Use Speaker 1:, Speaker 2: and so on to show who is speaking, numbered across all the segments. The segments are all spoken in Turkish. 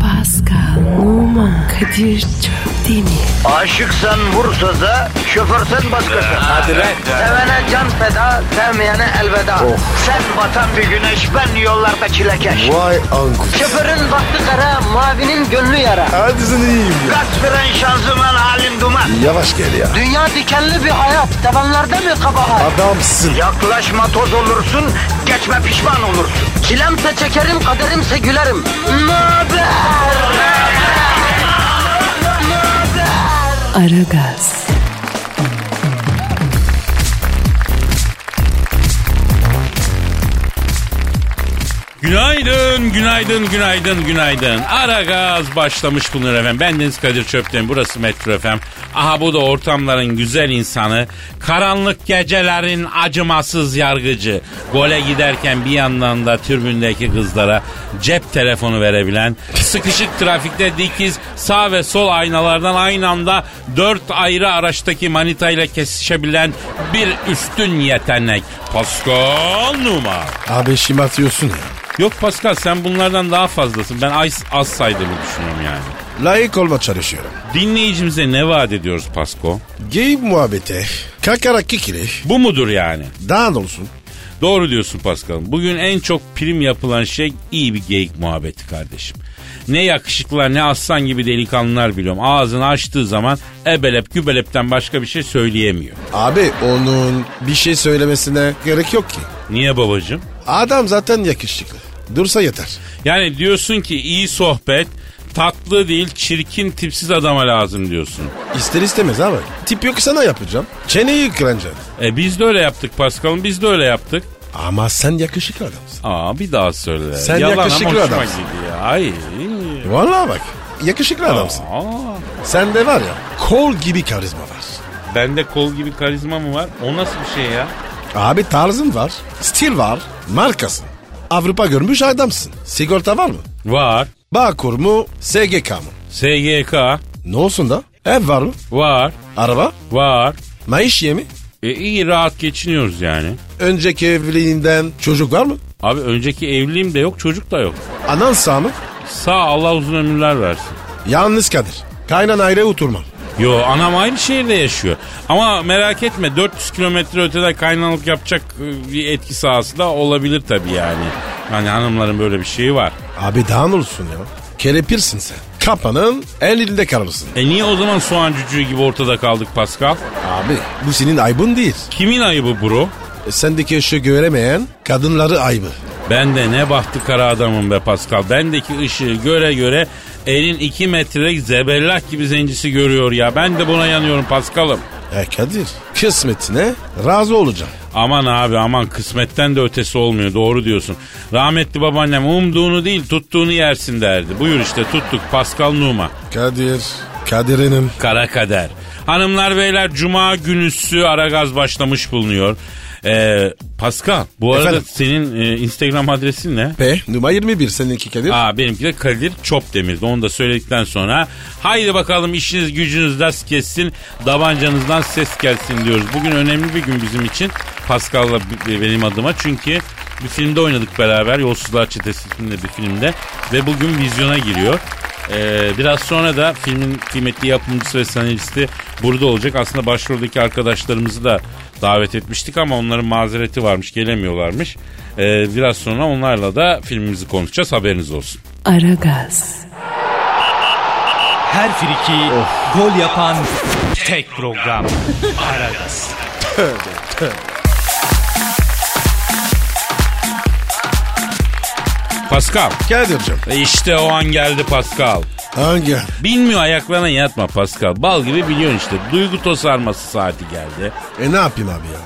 Speaker 1: Pascal, Oman, Kadir çok değil mi?
Speaker 2: Aşıksan vursa da, şoförsen başkasın. Hadi
Speaker 3: lan.
Speaker 2: Sevene can feda, sevmeyene elveda.
Speaker 3: Oh.
Speaker 2: Sen batan bir güneş, ben yollarda çilekeş.
Speaker 3: Vay anku.
Speaker 2: Şoförün baktı kara, mavinin gönlü yara.
Speaker 3: Hadi sen iyiyim ya.
Speaker 2: Kasperen şanzıman halin duman.
Speaker 3: Yavaş gel ya.
Speaker 2: Dünya dikenli bir hayat, sevenlerde mi kabahar?
Speaker 3: Adamsın.
Speaker 2: Yaklaşma toz olursun, geçme pişman olursun. Çilemse çekerim, kaderimse gülerim. Möber!
Speaker 1: Aragaz,
Speaker 4: Günaydın, günaydın, günaydın, günaydın. Ara gaz başlamış bunlar efendim. Ben Deniz Kadir Çöpten, burası Metro FM. Aha bu da ortamların güzel insanı. Karanlık gecelerin acımasız yargıcı. Gole giderken bir yandan da türbündeki kızlara cep telefonu verebilen, sıkışık trafikte dikiz sağ ve sol aynalardan aynı anda dört ayrı araçtaki manitayla kesişebilen bir üstün yetenek. Pascal Numa.
Speaker 3: Abi şimdi atıyorsun ya.
Speaker 4: Yok Pascal sen bunlardan daha fazlasın. Ben az, az saydığımı düşünüyorum yani.
Speaker 3: Layık olma çalışıyorum.
Speaker 4: Dinleyicimize ne vaat ediyoruz Pasko?
Speaker 3: Geyip muhabbete. Kakara kikiri.
Speaker 4: Bu mudur yani?
Speaker 3: Daha ne olsun?
Speaker 4: Doğru diyorsun Paskal'ım. Bugün en çok prim yapılan şey iyi bir geyik muhabbeti kardeşim. Ne yakışıklılar ne aslan gibi delikanlılar biliyorum. Ağzını açtığı zaman ebelep gübelepten başka bir şey söyleyemiyor.
Speaker 3: Abi onun bir şey söylemesine gerek yok ki.
Speaker 4: Niye babacığım?
Speaker 3: Adam zaten yakışıklı. Dursa yeter.
Speaker 4: Yani diyorsun ki iyi sohbet tatlı değil çirkin tipsiz adama lazım diyorsun.
Speaker 3: İster istemez abi. Tip yok sana yapacağım. Çeneyi kıracaksın.
Speaker 4: E biz de öyle yaptık Paskal'ım biz de öyle yaptık.
Speaker 3: Ama sen yakışıklı adamsın.
Speaker 4: Aa bir daha söyle.
Speaker 3: Sen
Speaker 4: Yalan ama
Speaker 3: yakışıklı
Speaker 4: hoşuma
Speaker 3: adamsın.
Speaker 4: gidiyor. Ay.
Speaker 3: Vallahi bak. Yakışıklı adamsın.
Speaker 4: Aa,
Speaker 3: Sende var ya kol gibi karizma var.
Speaker 4: bende kol gibi karizma mı var? O nasıl bir şey ya?
Speaker 3: Abi tarzın var, stil var, markasın. Avrupa görmüş adamsın. Sigorta var mı?
Speaker 4: Var.
Speaker 3: Bağkur mu, SGK mı?
Speaker 4: SGK
Speaker 3: Ne olsun da? Ev var mı?
Speaker 4: var.
Speaker 3: Araba?
Speaker 4: Var.
Speaker 3: Maaş ye mi?
Speaker 4: E, iyi rahat geçiniyoruz yani.
Speaker 3: Önceki evliliğinden çocuk var mı?
Speaker 4: Abi önceki evliliğim de yok çocuk da yok.
Speaker 3: Anan sağ mı?
Speaker 4: Sağ Allah uzun ömürler versin.
Speaker 3: Yalnız Kadir. Kaynan ayrı oturmam.
Speaker 4: Yo anam aynı şehirde yaşıyor. Ama merak etme 400 kilometre ötede kaynalık yapacak e, bir etki sahası da olabilir tabii yani. Hani hanımların böyle bir şeyi var.
Speaker 3: Abi daha ne olsun ya? Kelepirsin sen. Kapanın el elinde kalırsın.
Speaker 4: E niye o zaman soğan cücüğü gibi ortada kaldık Pascal?
Speaker 3: Abi bu senin aybın değil.
Speaker 4: Kimin ayıbı bro?
Speaker 3: E, Sendeki ışığı göremeyen kadınları aybı.
Speaker 4: Ben de ne bahtı kara adamım be Pascal. Bendeki ışığı göre göre elin 2 metrelik zebellah gibi zencisi görüyor ya. Ben de buna yanıyorum Pascal'ım.
Speaker 3: E Kadir kısmetine razı olacağım.
Speaker 4: Aman abi aman kısmetten de ötesi olmuyor doğru diyorsun. Rahmetli babaannem umduğunu değil tuttuğunu yersin derdi. Buyur işte tuttuk Pascal Numa.
Speaker 3: Kadir, Kadir'inim.
Speaker 4: Kara kader. Hanımlar beyler cuma günüsü Aragaz başlamış bulunuyor. Ee, Pascal bu arada
Speaker 3: Efendim?
Speaker 4: senin e, Instagram adresin ne?
Speaker 3: P numara 21 seninki Kadir.
Speaker 4: Aa, benimki de Kadir Çopdemir'di. Onu da söyledikten sonra haydi bakalım işiniz gücünüz rast kessin, davancanızdan ses gelsin diyoruz. Bugün önemli bir gün bizim için. Pascal'la b- benim adıma çünkü bir filmde oynadık beraber. Yolsuzlar Çetesi isimli bir filmde. Ve bugün vizyona giriyor. Ee, biraz sonra da filmin kıymetli yapımcısı ve senaristi burada olacak. Aslında başroldeki arkadaşlarımızı da davet etmiştik ama onların mazereti varmış gelemiyorlarmış. Ee, biraz sonra onlarla da filmimizi konuşacağız haberiniz olsun.
Speaker 1: Aragaz,
Speaker 5: Her friki gol yapan tek program. Aragaz.
Speaker 4: Pascal
Speaker 3: Kadir'cim.
Speaker 4: e işte o an geldi Pascal.
Speaker 3: Hangi?
Speaker 4: Bilmiyor ayaklarına yatma Pascal. Bal gibi biliyorsun işte. Duygu tosarması saati geldi.
Speaker 3: E ne yapayım abi ya?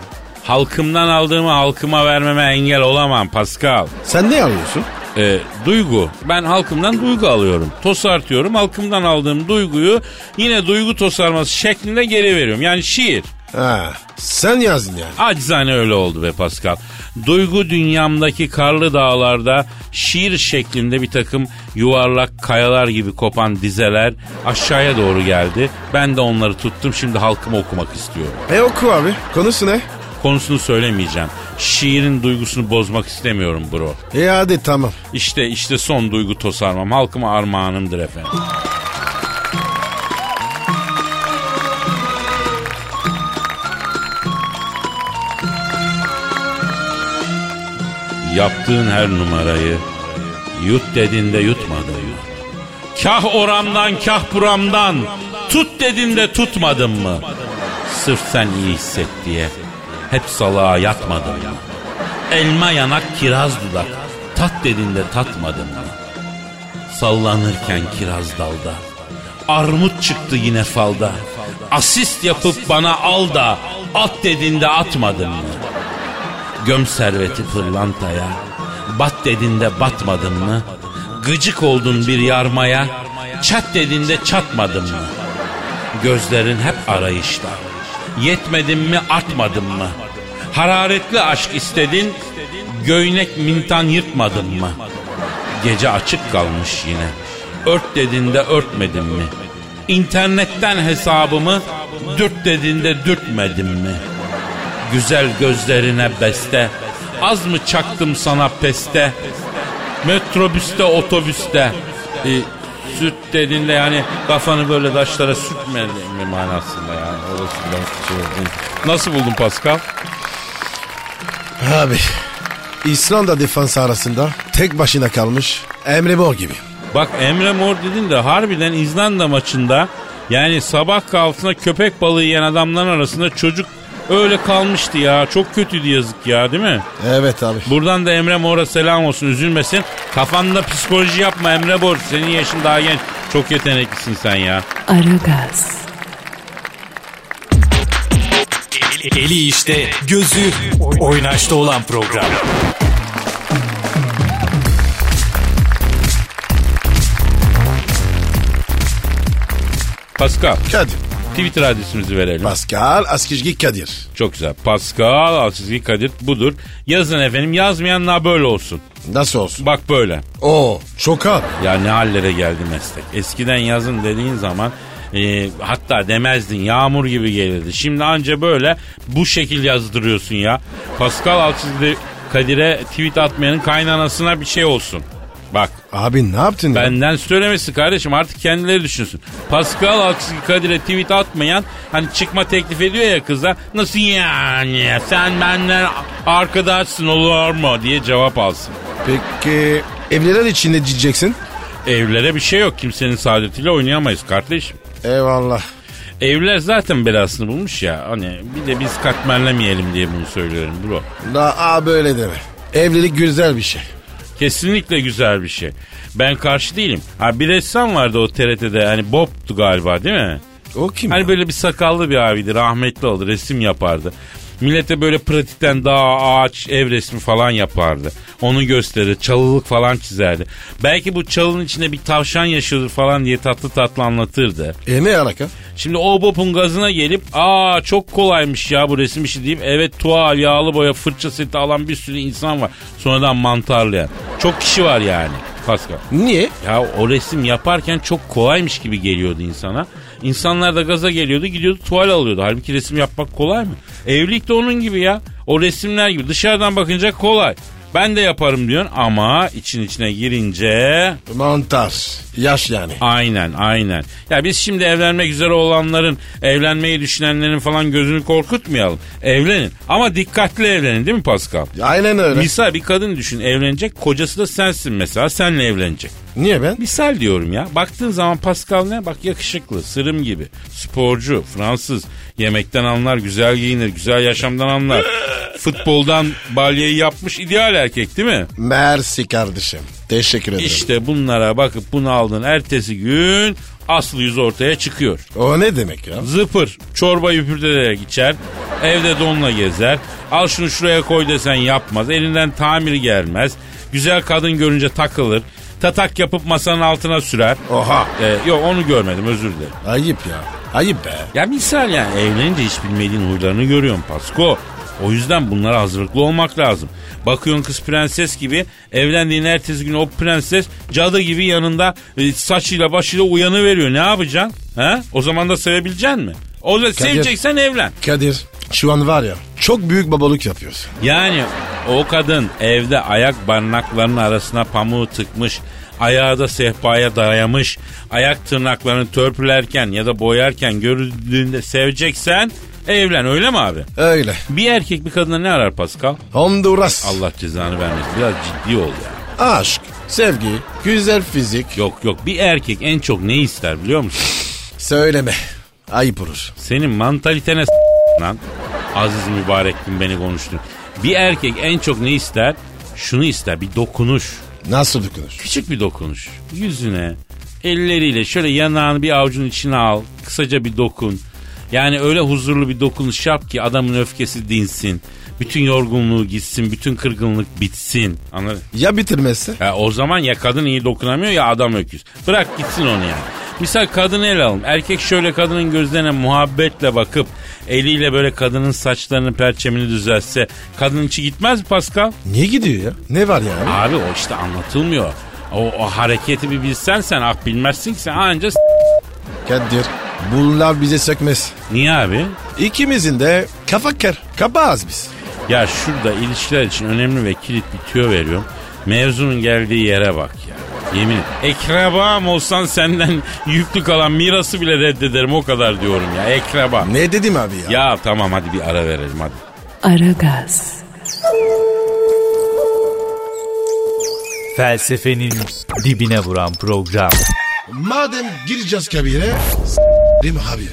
Speaker 4: Halkımdan aldığımı halkıma vermeme engel olamam Pascal.
Speaker 3: Sen ne arıyorsun?
Speaker 4: E, duygu. Ben halkımdan duygu alıyorum. Tosartıyorum. Halkımdan aldığım duyguyu yine duygu tosarması şeklinde geri veriyorum. Yani şiir.
Speaker 3: Ha, sen yazdın yani.
Speaker 4: Acizane öyle oldu be Pascal. Duygu dünyamdaki karlı dağlarda şiir şeklinde bir takım yuvarlak kayalar gibi kopan dizeler aşağıya doğru geldi. Ben de onları tuttum şimdi halkıma okumak istiyorum.
Speaker 3: E oku abi. Konusu ne?
Speaker 4: Konusunu söylemeyeceğim. Şiirin duygusunu bozmak istemiyorum bro.
Speaker 3: E hadi tamam.
Speaker 4: İşte işte son duygu tosarmam. Halkıma armağanımdır efendim. Yaptığın her numarayı yut dediğinde yutmadı yut. Kah oramdan kah buramdan tut dediğinde tutmadın mı? Sırf sen iyi hisset diye hep salağa yatmadın mı? Elma yanak kiraz dudak tat dediğinde tatmadın mı? Sallanırken kiraz dalda armut çıktı yine falda. Asist yapıp bana al da at dediğinde atmadın mı? Göm serveti pırlantaya Bat dediğinde batmadın mı? Gıcık oldun bir yarmaya Çat dediğinde çatmadın mı? Gözlerin hep arayışta Yetmedin mi atmadın mı? Hararetli aşk istedin Göğnek mintan yırtmadın mı? Gece açık kalmış yine Ört dediğinde örtmedin mi? İnternetten hesabımı Dürt dediğinde dürtmedin mi? Güzel gözlerine beste Az mı çaktım sana peste Metrobüste otobüste e, Sürt dediğinde yani kafanı böyle taşlara sürtme mi manasında yani orası biraz şey oldu. Nasıl buldun Pascal?
Speaker 3: Abi İslanda defansı arasında tek başına kalmış Emre Mor gibi.
Speaker 4: Bak Emre Mor dedin de harbiden İzlanda maçında yani sabah kahvaltısına köpek balığı yiyen adamların arasında çocuk öyle kalmıştı ya. Çok kötüydü yazık ya değil mi?
Speaker 3: Evet abi.
Speaker 4: Buradan da Emre Mor'a selam olsun üzülmesin. Kafanda psikoloji yapma Emre Bor. Senin yaşın daha genç. Çok yeteneklisin sen ya.
Speaker 1: Aragaz,
Speaker 5: Eli işte, gözü oynaşta olan program.
Speaker 4: Pascal
Speaker 3: Kadir.
Speaker 4: Twitter adresimizi verelim.
Speaker 3: Pascal Askizgi Kadir.
Speaker 4: Çok güzel. Pascal Altçizgi Kadir budur. Yazın efendim yazmayanlar böyle olsun.
Speaker 3: Nasıl olsun?
Speaker 4: Bak böyle.
Speaker 3: Oo çok abi.
Speaker 4: Ya ne hallere geldi meslek. Eskiden yazın dediğin zaman e, hatta demezdin yağmur gibi gelirdi. Şimdi anca böyle bu şekil yazdırıyorsun ya. Pascal Altçizgi Kadir'e tweet atmayanın kaynanasına bir şey olsun. Bak.
Speaker 3: Abi ne yaptın ya?
Speaker 4: Benden söylemesi kardeşim artık kendileri düşünsün. Pascal Aksiki Kadir'e tweet atmayan hani çıkma teklif ediyor ya kıza. Nasıl yani sen benden arkadaşsın olur mu diye cevap alsın.
Speaker 3: Peki evliler için ne diyeceksin?
Speaker 4: Evlere bir şey yok kimsenin saadetiyle oynayamayız kardeşim.
Speaker 3: Eyvallah.
Speaker 4: Evler zaten belasını bulmuş ya. Hani bir de biz katmerlemeyelim diye bunu söylüyorum bro.
Speaker 3: Daha böyle deme. Evlilik güzel bir şey.
Speaker 4: Kesinlikle güzel bir şey. Ben karşı değilim. Ha bir ressam vardı o TRT'de hani Bob'tu galiba değil mi?
Speaker 3: O kim?
Speaker 4: Hani böyle bir sakallı bir abiydi rahmetli oldu resim yapardı. Millete böyle pratikten daha ağaç ev resmi falan yapardı. Onu gösterir çalılık falan çizerdi. Belki bu çalının içinde bir tavşan yaşıyordur falan diye tatlı tatlı anlatırdı.
Speaker 3: E ne alaka?
Speaker 4: Şimdi o bopun gazına gelip aa çok kolaymış ya bu resim işi deyip evet tuval yağlı boya fırça seti alan bir sürü insan var. Sonradan mantarlayan. Çok kişi var yani. Pascal.
Speaker 3: Niye?
Speaker 4: Ya o resim yaparken çok kolaymış gibi geliyordu insana. İnsanlar da gaza geliyordu gidiyordu tuval alıyordu. Halbuki resim yapmak kolay mı? Evlilik de onun gibi ya. O resimler gibi dışarıdan bakınca kolay. Ben de yaparım diyorsun ama için içine girince
Speaker 3: Mantar. Yaş yani.
Speaker 4: aynen aynen. Ya biz şimdi evlenmek üzere olanların, evlenmeyi düşünenlerin falan gözünü korkutmayalım. Evlenin ama dikkatli evlenin değil mi Pascal?
Speaker 3: Aynen öyle.
Speaker 4: Misal bir kadın düşün evlenecek kocası da sensin mesela senle evlenecek.
Speaker 3: Niye ben?
Speaker 4: Misal diyorum ya. Baktığın zaman Pascal ne? Bak yakışıklı, sırım gibi. Sporcu, Fransız. Yemekten anlar, güzel giyinir, güzel yaşamdan anlar. Futboldan balyayı yapmış ideal erkek değil mi?
Speaker 3: Mersi kardeşim. Teşekkür ederim.
Speaker 4: İşte bunlara bakıp bunu aldın. Ertesi gün aslı yüz ortaya çıkıyor.
Speaker 3: O ne demek ya?
Speaker 4: Zıpır, çorba yüpürterek içer, evde donla gezer. Al şunu şuraya koy desen yapmaz, elinden tamir gelmez. Güzel kadın görünce takılır. Tatak yapıp masanın altına sürer.
Speaker 3: Oha.
Speaker 4: Ee, yok onu görmedim özür dilerim.
Speaker 3: Ayıp ya. Ayıp be.
Speaker 4: Ya misal yani evlenince hiç bilmediğin huylarını görüyorsun Pasko. O yüzden bunlara hazırlıklı olmak lazım. Bakıyorsun kız prenses gibi evlendiğin ertesi gün o prenses cadı gibi yanında e, saçıyla başıyla uyanı veriyor. Ne yapacaksın? Ha? O zaman da sevebileceksin mi? O da seveceksen evlen.
Speaker 3: Kadir Şu an var ya çok büyük babalık yapıyoruz.
Speaker 4: Yani o kadın evde ayak barnaklarının arasına pamuğu tıkmış, ayağı da sehpaya dayamış, ayak tırnaklarını törpülerken ya da boyarken görüldüğünde seveceksen evlen öyle mi abi?
Speaker 3: Öyle.
Speaker 4: Bir erkek bir kadına ne arar Pascal?
Speaker 3: Honduras.
Speaker 4: Allah cezanı vermesin. Biraz ciddi ol ya.
Speaker 3: Aşk, sevgi, güzel fizik.
Speaker 4: Yok yok bir erkek en çok ne ister biliyor musun?
Speaker 3: Söyleme. Ayıp olur.
Speaker 4: Senin mantalitene s- lan. Aziz mübarek gün beni konuştun. Bir erkek en çok ne ister? Şunu ister bir dokunuş.
Speaker 3: Nasıl dokunur?
Speaker 4: Küçük bir dokunuş. Yüzüne, elleriyle şöyle yanağını bir avucun içine al. Kısaca bir dokun. Yani öyle huzurlu bir dokunuş yap ki adamın öfkesi dinsin. Bütün yorgunluğu gitsin, bütün kırgınlık bitsin. Anladın?
Speaker 3: Ya bitirmezse?
Speaker 4: Ya o zaman ya kadın iyi dokunamıyor ya adam öküz. Bırak gitsin onu yani. Misal kadını ele alalım. Erkek şöyle kadının gözlerine muhabbetle bakıp eliyle böyle kadının saçlarının perçemini düzelse kadın içi gitmez mi Pascal?
Speaker 3: Niye gidiyor ya? Ne var ya?
Speaker 4: Abi o işte anlatılmıyor. O, o hareketi bir bilsen sen ah bilmezsin ki sen anca s-
Speaker 3: Kadir. Bunlar bize sökmez.
Speaker 4: Niye abi?
Speaker 3: İkimizin de kafa ker. Kapağız biz.
Speaker 4: Ya şurada ilişkiler için önemli ve kilit bir tüyo veriyorum. Mevzunun geldiği yere bak ya. Yemin et. Ekrabam olsan senden yüklü kalan mirası bile reddederim o kadar diyorum ya. Ekraba.
Speaker 3: Ne dedim abi ya?
Speaker 4: Ya tamam hadi bir ara verelim hadi.
Speaker 1: Aragaz,
Speaker 5: Felsefenin dibine vuran program.
Speaker 3: Madem gireceğiz kabire. Değil mi abi?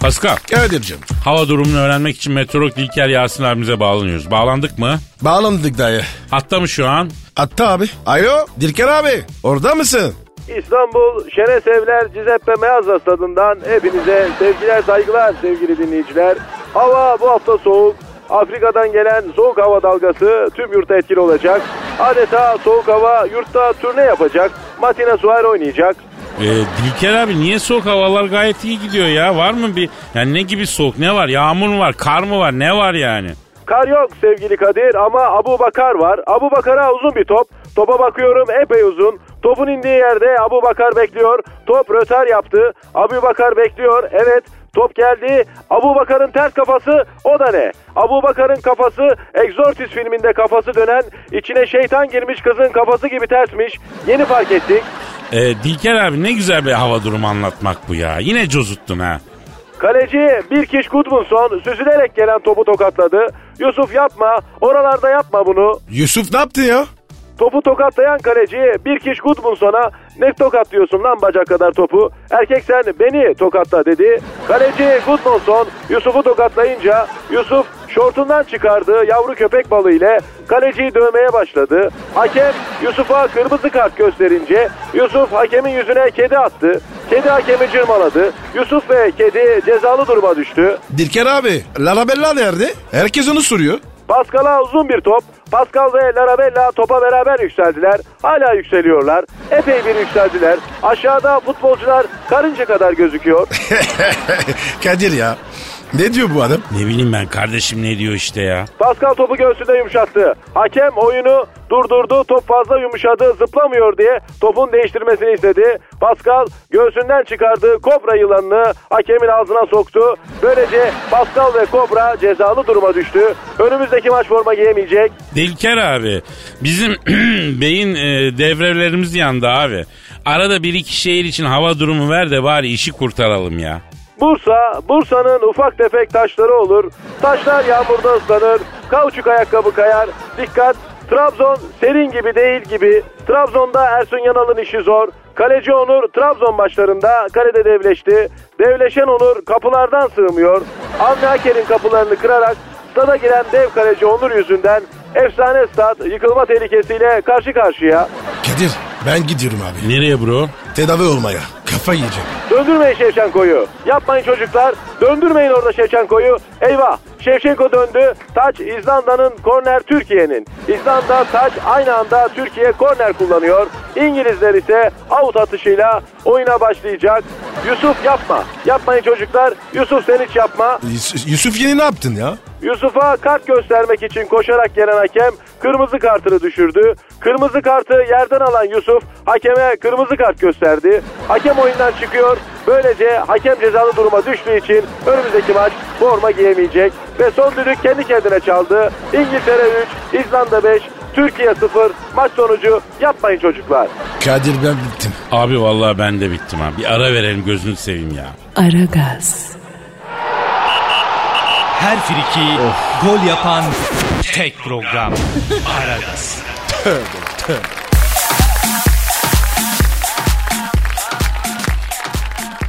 Speaker 4: Pascal
Speaker 3: Kadir'cim.
Speaker 4: hava durumunu öğrenmek için meteorolog İlker Yasin abimize bağlanıyoruz. Bağlandık mı?
Speaker 3: Bağlandık dayı.
Speaker 4: Hatta mı şu an?
Speaker 3: Hatta abi. Alo Dilker abi. Orada mısın?
Speaker 6: İstanbul Şenes Evler Cizeppe Meazza stadından hepinize sevgiler saygılar sevgili dinleyiciler. Hava bu hafta soğuk. Afrika'dan gelen soğuk hava dalgası tüm yurtta etkili olacak. Adeta soğuk hava yurtta turne yapacak. Matina suar oynayacak.
Speaker 4: Ee, Dilker abi niye soğuk havalar gayet iyi gidiyor ya? Var mı bir yani ne gibi soğuk ne var? Yağmur mu var? Kar mı var? Ne var yani?
Speaker 6: Kar yok sevgili Kadir ama Abu Bakar var. Abu Bakar'a uzun bir top. Topa bakıyorum epey uzun. Topun indiği yerde Abu Bakar bekliyor. Top rötar yaptı. Abu Bakar bekliyor. Evet top geldi. Abu Bakar'ın ters kafası o da ne? Abu Bakar'ın kafası Exorcist filminde kafası dönen içine şeytan girmiş kızın kafası gibi tersmiş. Yeni fark ettik.
Speaker 4: Ee, Dilker abi ne güzel bir hava durumu anlatmak bu ya. Yine cozuttun ha.
Speaker 6: Kaleci bir kiş Gudmundsson süzülerek gelen topu tokatladı. Yusuf yapma oralarda yapma bunu
Speaker 3: Yusuf ne yaptı ya?
Speaker 6: Topu tokatlayan kaleci bir kiş Gudmundson'a ne tokatlıyorsun lan bacak kadar topu. Erkek sen beni tokatla dedi. Kaleci Gudmundsson Yusuf'u tokatlayınca Yusuf şortundan çıkardığı yavru köpek balığı ile kaleciyi dövmeye başladı. Hakem Yusuf'a kırmızı kart gösterince Yusuf hakemin yüzüne kedi attı. Kedi hakemi cırmaladı. Yusuf ve kedi cezalı duruma düştü.
Speaker 3: Dilker abi. Larabella nerede? Herkes onu soruyor.
Speaker 6: Pascal'a uzun bir top. Pascal ve Larabella topa beraber yükseldiler. Hala yükseliyorlar. Epey bir yükseldiler. Aşağıda futbolcular karınca kadar gözüküyor.
Speaker 3: Kadir ya. Ne diyor bu adam?
Speaker 4: Ne bileyim ben kardeşim ne diyor işte ya.
Speaker 6: Pascal topu göğsünde yumuşattı. Hakem oyunu durdurdu. Top fazla yumuşadı. Zıplamıyor diye topun değiştirmesini istedi. Pascal göğsünden çıkardığı kobra yılanını hakemin ağzına soktu. Böylece Pascal ve kobra cezalı duruma düştü. Önümüzdeki maç forma giyemeyecek.
Speaker 4: Dilker abi bizim beyin e, devrelerimiz yandı abi. Arada bir iki şehir için hava durumu ver de bari işi kurtaralım ya.
Speaker 6: Bursa, Bursa'nın ufak tefek taşları olur. Taşlar yağmurda ıslanır. Kauçuk ayakkabı kayar. Dikkat! Trabzon serin gibi değil gibi. Trabzon'da Ersun Yanal'ın işi zor. Kaleci Onur Trabzon maçlarında kalede devleşti. Devleşen Onur kapılardan sığmıyor. Avni Aker'in kapılarını kırarak stada giren dev kaleci Onur yüzünden efsane stat yıkılma tehlikesiyle karşı karşıya.
Speaker 3: Kadir ben gidiyorum abi.
Speaker 4: Nereye bro?
Speaker 3: Tedavi olmaya. Kafa yiyeceğim.
Speaker 6: Döndürmeyin Şevçenko'yu. Yapmayın çocuklar. Döndürmeyin orada Şevçenko'yu. Eyvah. Şevçenko döndü. Taç İzlanda'nın korner Türkiye'nin. İzlanda taç aynı anda Türkiye korner kullanıyor. İngilizler ise out atışıyla oyuna başlayacak. Yusuf yapma. Yapmayın çocuklar. Yusuf sen hiç yapma.
Speaker 3: Yus- Yusuf yeni ne yaptın ya?
Speaker 6: Yusuf'a kart göstermek için koşarak gelen hakem kırmızı kartını düşürdü. Kırmızı kartı yerden alan Yusuf hakeme kırmızı kart gösterdi. Hakem oyundan çıkıyor. Böylece hakem cezalı duruma düştüğü için önümüzdeki maç forma giyemeyecek. Ve son düdük kendi kendine çaldı. İngiltere 3, İzlanda 5, Türkiye 0. Maç sonucu yapmayın çocuklar.
Speaker 3: Kadir ben bittim.
Speaker 4: Abi vallahi ben de bittim abi. Bir ara verelim gözünü seveyim ya.
Speaker 1: Aragaz,
Speaker 5: Her friki gol yapan tek program. Aragaz.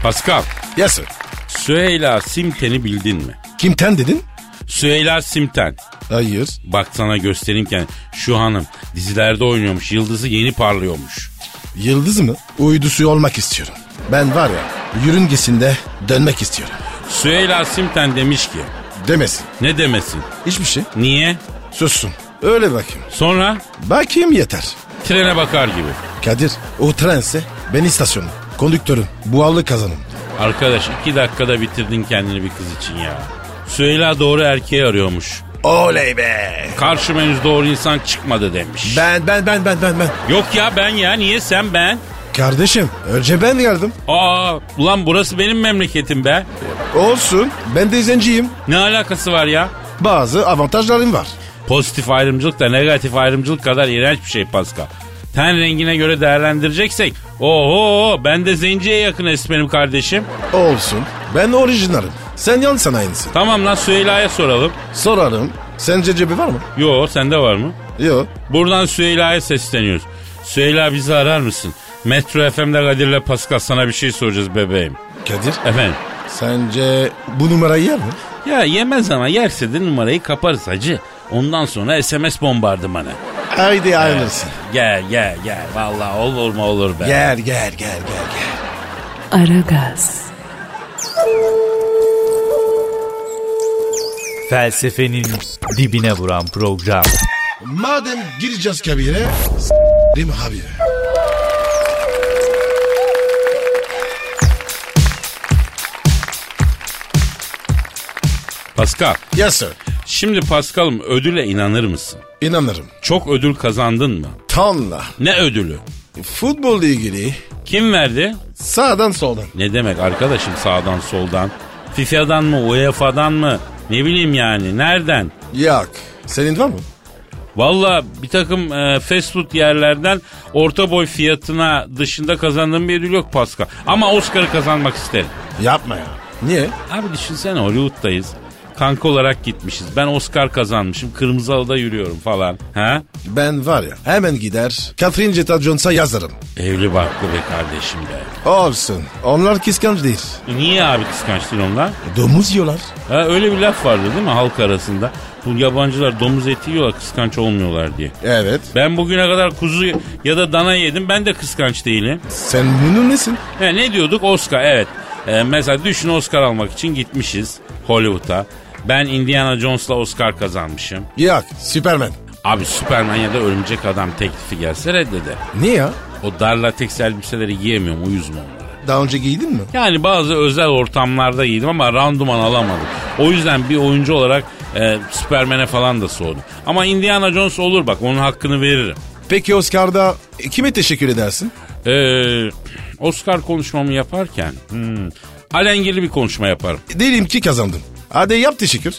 Speaker 4: Pascal,
Speaker 3: Yes sir.
Speaker 4: Süheyla Simten'i bildin mi?
Speaker 3: Kimten dedin?
Speaker 4: Süheyla Simten.
Speaker 3: Hayır.
Speaker 4: Bak sana gösterimken şu hanım dizilerde oynuyormuş. Yıldızı yeni parlıyormuş.
Speaker 3: Yıldız mı? Uydusu olmak istiyorum. Ben var ya yörüngesinde dönmek istiyorum.
Speaker 4: Süheyla Simten demiş ki
Speaker 3: Demesin.
Speaker 4: ne demesin?
Speaker 3: Hiçbir şey.
Speaker 4: Niye?
Speaker 3: Sussun. Öyle bakayım.
Speaker 4: Sonra
Speaker 3: Bakayım yeter.
Speaker 4: trene bakar gibi.
Speaker 3: Kadir o trense ben istasyonum. Konduktörüm. Buharlı kazanım.
Speaker 4: Arkadaş iki dakikada bitirdin kendini bir kız için ya. Süheyla doğru erkeği arıyormuş.
Speaker 3: Oley be.
Speaker 4: Karşıma henüz doğru insan çıkmadı demiş.
Speaker 3: Ben ben ben ben ben ben.
Speaker 4: Yok ya ben ya niye sen ben?
Speaker 3: Kardeşim önce ben geldim.
Speaker 4: Aa ulan burası benim memleketim be.
Speaker 3: Olsun ben de zenciyim.
Speaker 4: Ne alakası var ya?
Speaker 3: Bazı avantajlarım var.
Speaker 4: Pozitif ayrımcılık da negatif ayrımcılık kadar iğrenç bir şey Pascal. Ten rengine göre değerlendireceksek. Oho ben de zenciye yakın esmerim kardeşim.
Speaker 3: Olsun ben orijinalim. Sen yan sanayinisin.
Speaker 4: Tamam lan Süheyla'ya soralım.
Speaker 3: Sorarım. Sence cebi var mı?
Speaker 4: Yo sende var mı?
Speaker 3: Yok.
Speaker 4: Buradan Süheyla'ya sesleniyoruz. Süheyla bizi arar mısın? Metro FM'de Kadir'le Pascal sana bir şey soracağız bebeğim.
Speaker 3: Kadir
Speaker 4: Efendim?
Speaker 3: sence bu numarayı yer mi?
Speaker 4: Ya yemez ama yerse de numarayı kaparız hacı. Ondan sonra SMS bombardımanı.
Speaker 3: Haydi ayrılırsın.
Speaker 4: Gel gel gel. Vallahi olur mu olur be.
Speaker 3: Gel gel gel gel gel.
Speaker 1: Aragaz,
Speaker 5: Felsefenin dibine vuran program.
Speaker 3: Madem gireceğiz kabire s**rim abi.
Speaker 4: Pascal.
Speaker 3: Yes sir.
Speaker 4: Şimdi Pascal'ım ödüle inanır mısın?
Speaker 3: İnanırım.
Speaker 4: Çok ödül kazandın mı?
Speaker 3: Tonla.
Speaker 4: Ne ödülü?
Speaker 3: Futbolla ilgili
Speaker 4: Kim verdi?
Speaker 3: sağdan soldan.
Speaker 4: Ne demek arkadaşım sağdan soldan? FIFA'dan mı UEFA'dan mı? Ne bileyim yani nereden?
Speaker 3: Yok. Senin var mı?
Speaker 4: Valla bir takım e, fast food yerlerden orta boy fiyatına dışında kazandığım bir ödül yok Pascal. Ama Oscar'ı kazanmak isterim.
Speaker 3: Yapma ya. Niye?
Speaker 4: Abi düşünsene Hollywood'dayız. Kanka olarak gitmişiz. Ben Oscar kazanmışım. Kırmızı halıda yürüyorum falan. Ha?
Speaker 3: Ben var ya hemen gider Catherine Zeta-Jones'a yazarım.
Speaker 4: Evli barklı be kardeşim be. E
Speaker 3: Olsun. Onlar kıskanç değil.
Speaker 4: Niye abi kıskanç değil onlar?
Speaker 3: Domuz yiyorlar.
Speaker 4: Ha, öyle bir laf vardı değil mi halk arasında? Bu yabancılar domuz eti yiyorlar kıskanç olmuyorlar diye.
Speaker 3: Evet.
Speaker 4: Ben bugüne kadar kuzu ya da dana yedim ben de kıskanç değilim.
Speaker 3: Sen bunun nesin?
Speaker 4: He, ne diyorduk Oscar evet. Ee, mesela düşün Oscar almak için gitmişiz Hollywood'a. Ben Indiana Jones'la Oscar kazanmışım.
Speaker 3: Yok. Superman.
Speaker 4: Abi Superman ya da Örümcek Adam teklifi gelse reddeder.
Speaker 3: Niye ya?
Speaker 4: O dar lateks elbiseleri giyemiyorum uyuzum onlara.
Speaker 3: Daha önce giydin mi?
Speaker 4: Yani bazı özel ortamlarda giydim ama randuman alamadım. O yüzden bir oyuncu olarak e, Superman'e falan da soğudum. Ama Indiana Jones olur bak onun hakkını veririm.
Speaker 3: Peki Oscar'da kime teşekkür edersin?
Speaker 4: Ee, Oscar konuşmamı yaparken hmm, alengirli bir konuşma yaparım.
Speaker 3: Diyelim ki kazandım. Hadi yap teşekkür.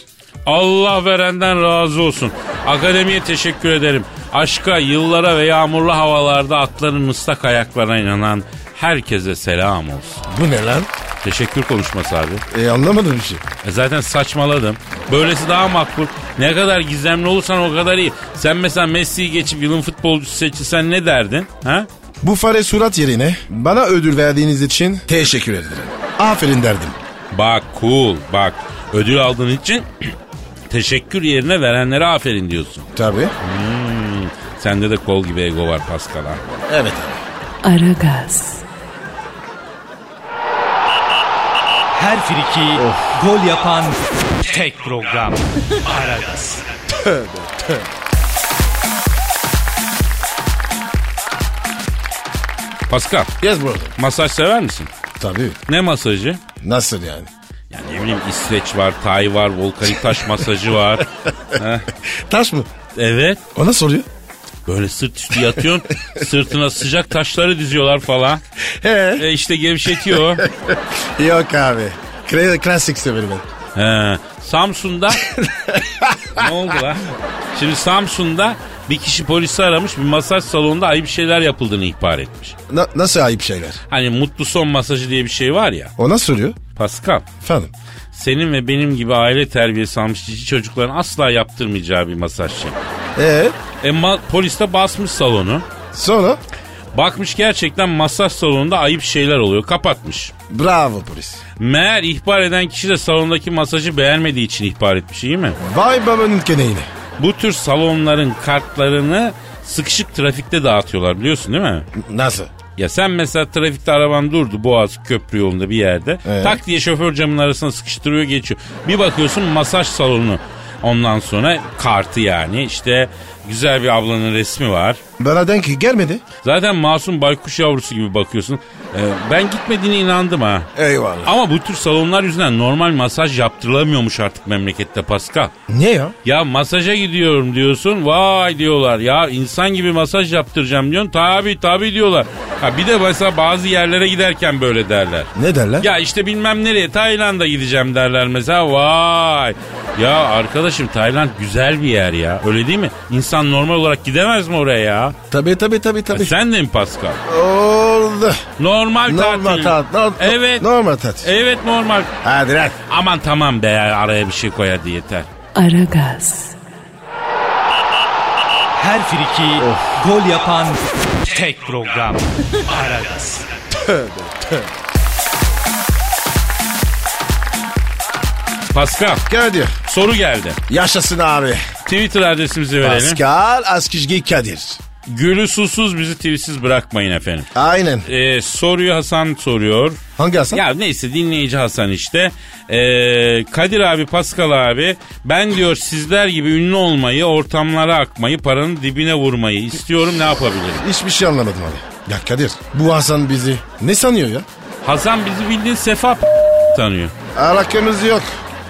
Speaker 4: Allah verenden razı olsun. Akademiye teşekkür ederim. Aşka, yıllara ve yağmurlu havalarda atların ıslak ayaklarına inanan herkese selam olsun.
Speaker 3: Bu ne lan?
Speaker 4: Teşekkür konuşması abi.
Speaker 3: E, anlamadım bir şey.
Speaker 4: E zaten saçmaladım. Böylesi daha makbul. Ne kadar gizemli olursan o kadar iyi. Sen mesela Messi'yi geçip yılın futbolcusu seçilsen ne derdin? Ha?
Speaker 3: Bu fare surat yerine bana ödül verdiğiniz için teşekkür ederim. Aferin derdim.
Speaker 4: Bak cool bak. Ödül aldığın için teşekkür yerine verenlere aferin diyorsun.
Speaker 3: Tabii.
Speaker 4: Sende de kol gibi ego var Pascal ha.
Speaker 3: Evet abi.
Speaker 1: Aragaz,
Speaker 5: Her friki gol yapan tek program. Aragaz.
Speaker 4: Pascal
Speaker 3: Yes brother.
Speaker 4: masaj sever misin?
Speaker 3: Tabii.
Speaker 4: Ne masajı?
Speaker 3: Nasıl yani?
Speaker 4: Yani ne bileyim İsveç var, Tay var, volkanik taş masajı var.
Speaker 3: Taş mı?
Speaker 4: Evet.
Speaker 3: O nasıl oluyor?
Speaker 4: Böyle sırt üstü yatıyorsun. sırtına sıcak taşları diziyorlar falan.
Speaker 3: He.
Speaker 4: E işte gevşetiyor.
Speaker 3: Yok abi. Kla- Klasik severim ben.
Speaker 4: He. Samsun'da ne oldu lan? Şimdi Samsun'da bir kişi polisi aramış bir masaj salonunda ayıp şeyler yapıldığını ihbar etmiş.
Speaker 3: Na- nasıl ayıp şeyler?
Speaker 4: Hani mutlu son masajı diye bir şey var ya
Speaker 3: O nasıl oluyor?
Speaker 4: Pascal.
Speaker 3: Efendim?
Speaker 4: Senin ve benim gibi aile terbiyesi almış cici çocukların asla yaptırmayacağı bir masaj şey.
Speaker 3: Ee,
Speaker 4: E ma- polis de basmış salonu.
Speaker 3: sonra?
Speaker 4: Bakmış gerçekten masaj salonunda ayıp şeyler oluyor. Kapatmış.
Speaker 3: Bravo polis.
Speaker 4: Meğer ihbar eden kişi de salondaki masajı beğenmediği için ihbar etmiş iyi mi?
Speaker 3: Vay babanın keneyine.
Speaker 4: Bu tür salonların kartlarını sıkışık trafikte dağıtıyorlar biliyorsun değil mi?
Speaker 3: Nasıl?
Speaker 4: Ya sen mesela trafikte araban durdu Boğaz Köprü yolunda bir yerde.
Speaker 3: Evet.
Speaker 4: Tak diye şoför camının arasına sıkıştırıyor geçiyor. Bir bakıyorsun masaj salonu. Ondan sonra kartı yani işte güzel bir ablanın resmi var.
Speaker 3: Bana denk ki gelmedi.
Speaker 4: Zaten masum baykuş yavrusu gibi bakıyorsun. Ee, ben gitmediğine inandım ha.
Speaker 3: Eyvallah.
Speaker 4: Ama bu tür salonlar yüzünden normal masaj yaptırılamıyormuş artık memlekette Pascal.
Speaker 3: Niye ya?
Speaker 4: Ya masaja gidiyorum diyorsun. Vay diyorlar. Ya insan gibi masaj yaptıracağım diyorsun. Tabi tabi diyorlar. Ha bir de mesela bazı yerlere giderken böyle derler.
Speaker 3: Ne derler?
Speaker 4: Ya işte bilmem nereye Tayland'a gideceğim derler mesela. Vay. Ya arkadaşım Tayland güzel bir yer ya. Öyle değil mi? İnsan normal olarak gidemez mi oraya ya?
Speaker 3: Tabii tabii tabii tabii.
Speaker 4: Sen de mi Pascal?
Speaker 3: Oldu.
Speaker 4: Normal,
Speaker 3: Normal
Speaker 4: tatil.
Speaker 3: tat. no- no-
Speaker 4: evet.
Speaker 3: Normal tat.
Speaker 4: Evet normal.
Speaker 3: Hadi lan.
Speaker 4: Aman tamam be ya, araya bir şey koyar diye yeter.
Speaker 1: Aragaz.
Speaker 5: Her friki gol yapan tek program. Aragaz.
Speaker 4: Pascal
Speaker 3: Kadir.
Speaker 4: soru geldi.
Speaker 3: Yaşasın abi.
Speaker 4: Twitter adresimizi verelim.
Speaker 3: Pascal Askizgi Kadir.
Speaker 4: Gülü susuz bizi tweetsiz bırakmayın efendim.
Speaker 3: Aynen.
Speaker 4: Ee, soruyu Hasan soruyor.
Speaker 3: Hangi Hasan?
Speaker 4: Ya neyse dinleyici Hasan işte. Ee, Kadir abi, Pascal abi ben diyor sizler gibi ünlü olmayı, ortamlara akmayı, paranın dibine vurmayı istiyorum ne yapabilirim?
Speaker 3: Hiçbir şey anlamadım abi. Ya Kadir bu Hasan bizi ne sanıyor ya?
Speaker 4: Hasan bizi bildiğin sefa tanıyor.
Speaker 3: Alakamız yok.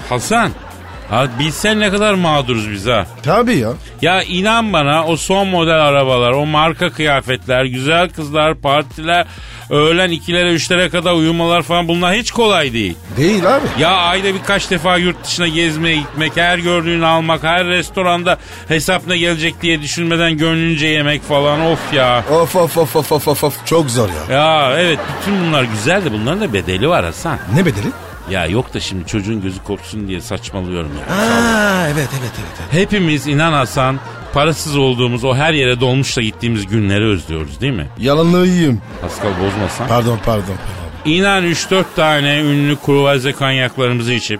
Speaker 4: Hasan ha bilsen ne kadar mağduruz biz ha.
Speaker 3: Tabii ya.
Speaker 4: Ya inan bana o son model arabalar, o marka kıyafetler, güzel kızlar, partiler, öğlen ikilere üçlere kadar uyumalar falan bunlar hiç kolay değil.
Speaker 3: Değil abi.
Speaker 4: Ya ayda birkaç defa yurt dışına gezmeye gitmek, her gördüğünü almak, her restoranda hesap ne gelecek diye düşünmeden gönlünce yemek falan of ya.
Speaker 3: Of of of of of of of. Çok zor ya.
Speaker 4: Ya evet bütün bunlar güzel de bunların da bedeli var Hasan.
Speaker 3: Ne bedeli?
Speaker 4: Ya yok da şimdi çocuğun gözü kopsun diye saçmalıyorum ya.
Speaker 3: Aa evet evet evet. evet.
Speaker 4: Hepimiz inan Hasan parasız olduğumuz o her yere dolmuşla gittiğimiz günleri özlüyoruz değil mi?
Speaker 3: Yalanlıyım.
Speaker 4: Pascal bozmasan.
Speaker 3: Pardon pardon pardon.
Speaker 4: İnan 3-4 tane ünlü kruvaze kanyaklarımızı içip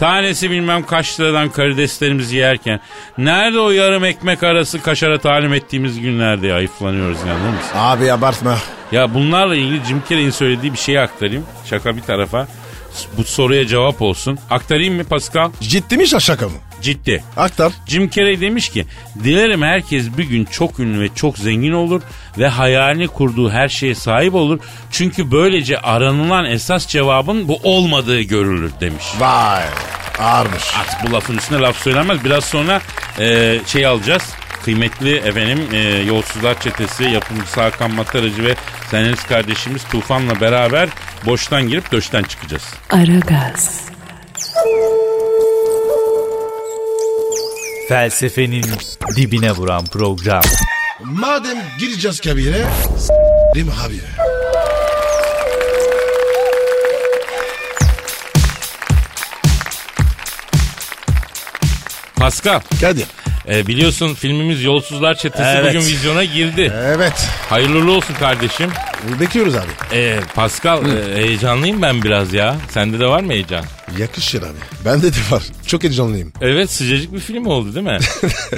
Speaker 4: tanesi bilmem kaç liradan karideslerimizi yerken nerede o yarım ekmek arası kaşara talim ettiğimiz günlerde ayıflanıyoruz inanır mısın?
Speaker 3: Abi abartma.
Speaker 4: Ya bunlarla ilgili Jim Carrey'in söylediği bir şeyi aktarayım. Şaka bir tarafa. S- Bu soruya cevap olsun. Aktarayım mı Pascal?
Speaker 3: Ciddi mi şaka mı?
Speaker 4: Ciddi.
Speaker 3: Aktar.
Speaker 4: Jim Carrey demiş ki dilerim herkes bir gün çok ünlü ve çok zengin olur ve hayalini kurduğu her şeye sahip olur. Çünkü böylece aranılan esas cevabın bu olmadığı görülür demiş.
Speaker 3: Vay. Ağırmış.
Speaker 4: Artık bu lafın üstüne laf söylenmez. Biraz sonra e, şey alacağız. Kıymetli efendim e, Yolsuzlar Çetesi yapımcısı Hakan Mataracı ve senarist kardeşimiz Tufan'la beraber boştan girip döşten çıkacağız.
Speaker 1: Aragaz.
Speaker 5: Felsefenin dibine vuran program.
Speaker 3: Madem gireceğiz kabire. Rim abi.
Speaker 4: Pascal
Speaker 3: Kadir.
Speaker 4: e, biliyorsun filmimiz Yolsuzlar Çetesi
Speaker 3: Evet.
Speaker 4: bugün vizyona girdi.
Speaker 3: Evet.
Speaker 4: Hayırlı olsun kardeşim.
Speaker 3: Bekliyoruz abi.
Speaker 4: Ee, Pascal e, heyecanlıyım ben biraz ya. Sende de var mı heyecan?
Speaker 3: Yakışır abi. Bende de var. Çok heyecanlıyım.
Speaker 4: Evet sıcacık bir film oldu değil mi?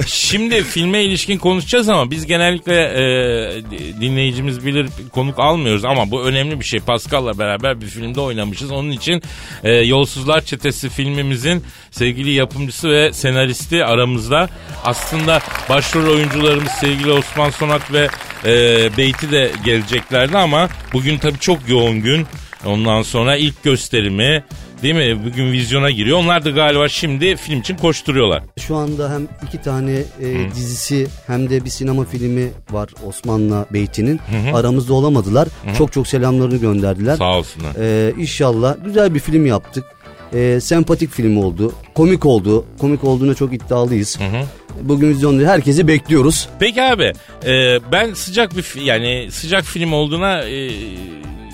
Speaker 4: Şimdi filme ilişkin konuşacağız ama biz genellikle e, dinleyicimiz bilir konuk almıyoruz ama bu önemli bir şey. Pascal'la beraber bir filmde oynamışız. Onun için e, Yolsuzlar Çetesi filmimizin sevgili yapımcısı ve senaristi aramızda. Aslında başrol oyuncularımız sevgili Osman Sonak ve e, Beyti de geleceklerdi ama bugün tabii çok yoğun gün. Ondan sonra ilk gösterimi Değil mi? Bugün vizyona giriyor. Onlar da galiba şimdi film için koşturuyorlar.
Speaker 7: Şu anda hem iki tane e, dizisi hem de bir sinema filmi var Osman'la Beyti'nin. Aramızda olamadılar. Çok çok selamlarını gönderdiler. E,
Speaker 4: Sağ olsunlar.
Speaker 7: inşallah güzel bir film yaptık. Ee, sempatik film oldu. Komik oldu. Komik olduğuna çok iddialıyız. Bugün vizyonda herkesi bekliyoruz.
Speaker 4: Peki abi e, ben sıcak bir fi- yani sıcak film olduğuna e,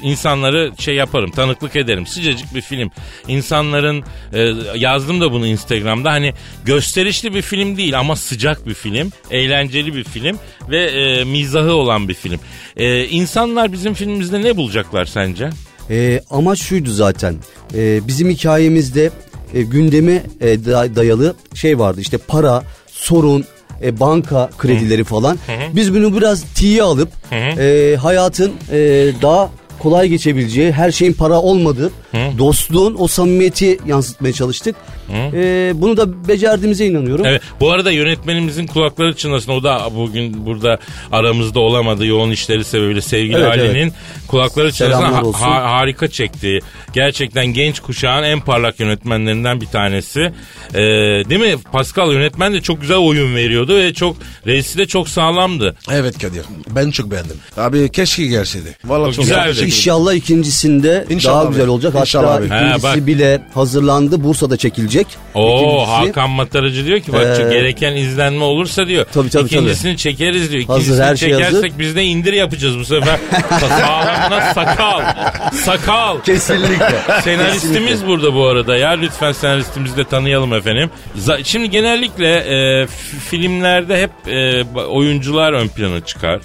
Speaker 4: insanları şey yaparım tanıklık ederim sıcacık bir film insanların e, yazdım da bunu Instagram'da hani gösterişli bir film değil ama sıcak bir film eğlenceli bir film ve e, mizahı olan bir film E, insanlar bizim filmimizde ne bulacaklar sence?
Speaker 7: Ee, amaç şuydu zaten. Ee, bizim hikayemizde e, gündeme e, da- dayalı şey vardı. İşte para, sorun, e, banka kredileri falan. Biz bunu biraz tiye alıp e, hayatın e, daha kolay geçebileceği, her şeyin para olmadığı, dostluğun o samimiyeti yansıtmaya çalıştık. E, bunu da becerdiğimize inanıyorum.
Speaker 4: Evet. Bu arada yönetmenimizin kulakları çınlasın. O da bugün burada aramızda olamadı yoğun işleri sebebiyle sevgili
Speaker 7: Evet,
Speaker 4: Ali'nin kulakları çınlasın.
Speaker 7: Selamlar
Speaker 4: Ha-
Speaker 7: olsun.
Speaker 4: ha- harika çekti. Gerçekten genç kuşağın en parlak yönetmenlerinden bir tanesi. Ee, değil mi? Pascal yönetmen de çok güzel oyun veriyordu ve çok reisi de çok sağlamdı.
Speaker 3: Evet Kadir. Ben çok beğendim. Abi keşke gelseydi. Vallahi
Speaker 4: Çok güzel.
Speaker 3: güzel.
Speaker 7: İnşallah ikincisinde
Speaker 3: İnşallah
Speaker 7: daha
Speaker 3: abi.
Speaker 7: güzel olacak.
Speaker 3: İnşallah
Speaker 7: Hatta
Speaker 3: abi.
Speaker 4: He,
Speaker 7: ikincisi
Speaker 4: bak.
Speaker 7: bile hazırlandı. Bursa'da çekilecek.
Speaker 4: Oo
Speaker 7: İkincisi-
Speaker 4: Hakan Matarıcı diyor ki bak
Speaker 7: Ee,
Speaker 4: gereken izlenme olursa diyor.
Speaker 7: Tabii, tabii, tabii.
Speaker 4: ikincisini çekeriz diyor.
Speaker 7: Hazır,
Speaker 4: İkincisini
Speaker 7: her şey
Speaker 4: çekersek
Speaker 7: hazır.
Speaker 4: biz de indir yapacağız bu sefer. Sağlamına sakal. Sakal.
Speaker 7: Kesinlikle.
Speaker 4: Senaristimiz burada bu arada ya. Lütfen senaristimizi de tanıyalım efendim. Za- Şimdi genellikle e, f- filmlerde hep e, ba- oyuncular ön plana çıkar.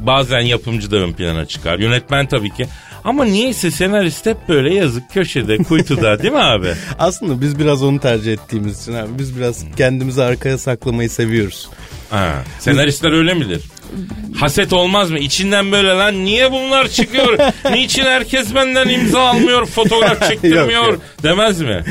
Speaker 4: Bazen yapımcı da ön plana çıkar. Yönetmen tabii ki. Ama niyeyse senarist hep böyle yazık köşede, kuytuda değil mi abi?
Speaker 8: Aslında biz biraz onu tercih ettiğimiz için abi. Biz biraz kendimizi arkaya saklamayı seviyoruz.
Speaker 4: Ha, senaristler öyle midir? Haset olmaz mı? İçinden böyle lan niye bunlar çıkıyor? Niçin herkes benden imza almıyor, fotoğraf çektirmiyor
Speaker 8: Yok, yok.
Speaker 4: demez mi?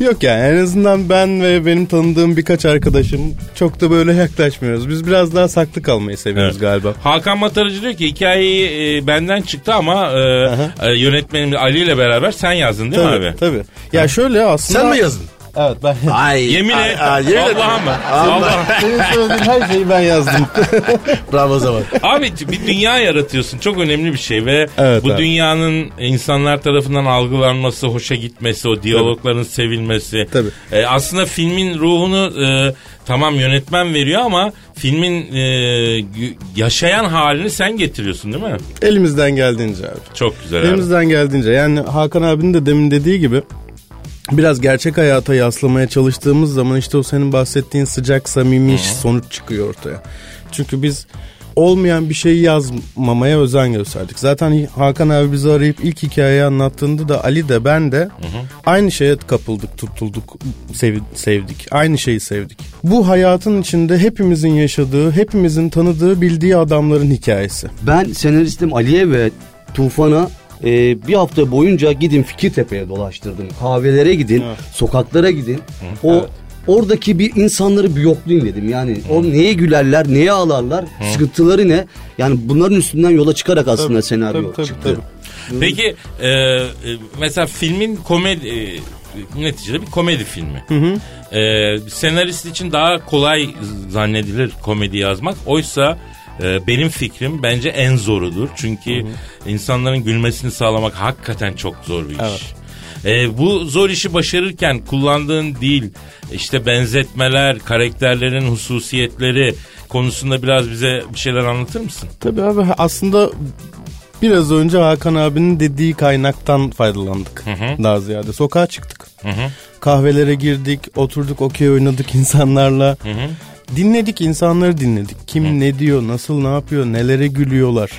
Speaker 8: Yok yani en azından ben ve benim tanıdığım birkaç arkadaşım çok da böyle yaklaşmıyoruz. Biz biraz daha saklı kalmayı seviyoruz
Speaker 4: Evet.
Speaker 8: galiba.
Speaker 4: Hakan Matarıcı diyor ki hikayeyi e, benden çıktı ama e, e, yönetmenim Ali ile beraber sen yazdın değil
Speaker 8: Tabii
Speaker 4: mi abi?
Speaker 8: tabii. Ya şöyle aslında...
Speaker 3: Sen mi yazdın?
Speaker 8: Evet ben
Speaker 3: Ay.
Speaker 4: Yemin
Speaker 3: ay,
Speaker 4: et.
Speaker 3: ay, yemin et.
Speaker 4: Allah'a mı? Allah.
Speaker 8: Senin söylediğin her şeyi ben yazdım.
Speaker 3: Bravo zaman.
Speaker 4: Abi bir dünya yaratıyorsun. Çok önemli bir şey ve
Speaker 8: Evet
Speaker 4: bu
Speaker 8: abi.
Speaker 4: dünyanın insanlar tarafından algılanması, hoşa gitmesi, o diyalogların sevilmesi.
Speaker 8: Tabii.
Speaker 4: E, aslında filmin ruhunu e, tamam yönetmen veriyor ama filmin e, gü- yaşayan halini sen getiriyorsun değil mi?
Speaker 8: Elimizden geldiğince abi.
Speaker 4: Çok güzel abi.
Speaker 8: Elimizden geldiğince yani Hakan abinin de demin dediği gibi biraz gerçek hayata yaslamaya çalıştığımız zaman işte o senin bahsettiğin sıcak samimi iş sonuç çıkıyor ortaya. Çünkü biz olmayan bir şeyi yazmamaya özen gösterdik. Zaten Hakan abi bizi arayıp ilk hikayeyi anlattığında da Ali de ben de aynı şeye kapıldık, tutulduk, sev- sevdik. Aynı şeyi sevdik. Bu hayatın içinde hepimizin yaşadığı, hepimizin tanıdığı, bildiği adamların hikayesi.
Speaker 7: Ben senaristim Ali'ye ve Tufan'a e, bir hafta boyunca gidin Fikirtepe'ye dolaştırdım. Kahvelere gidin, sokaklara gidin. O oradaki bir insanları bir yoklayın dedim. Yani o neye gülerler, neye ağlarlar, sıkıntıları ne? Yani bunların üstünden yola çıkarak aslında senaryo
Speaker 8: tabii, tabii,
Speaker 7: çıktı.
Speaker 8: tabii.
Speaker 4: Peki e, e, mesela filmin komedi e, neticede bir komedi filmi. E, senarist için daha kolay zannedilir komedi yazmak. Oysa e, benim fikrim bence en zorudur. Çünkü insanların gülmesini sağlamak hakikaten çok zor bir iş. E, bu zor işi başarırken kullandığın dil, işte benzetmeler, karakterlerin hususiyetleri konusunda biraz bize bir şeyler anlatır mısın?
Speaker 8: Tabii abi aslında biraz önce Hakan abinin dediği kaynaktan faydalandık. Daha ziyade sokağa çıktık. Kahvelere girdik, oturduk, okey oynadık insanlarla. Dinledik insanları dinledik. Kim ne diyor, nasıl ne yapıyor, nelere gülüyorlar.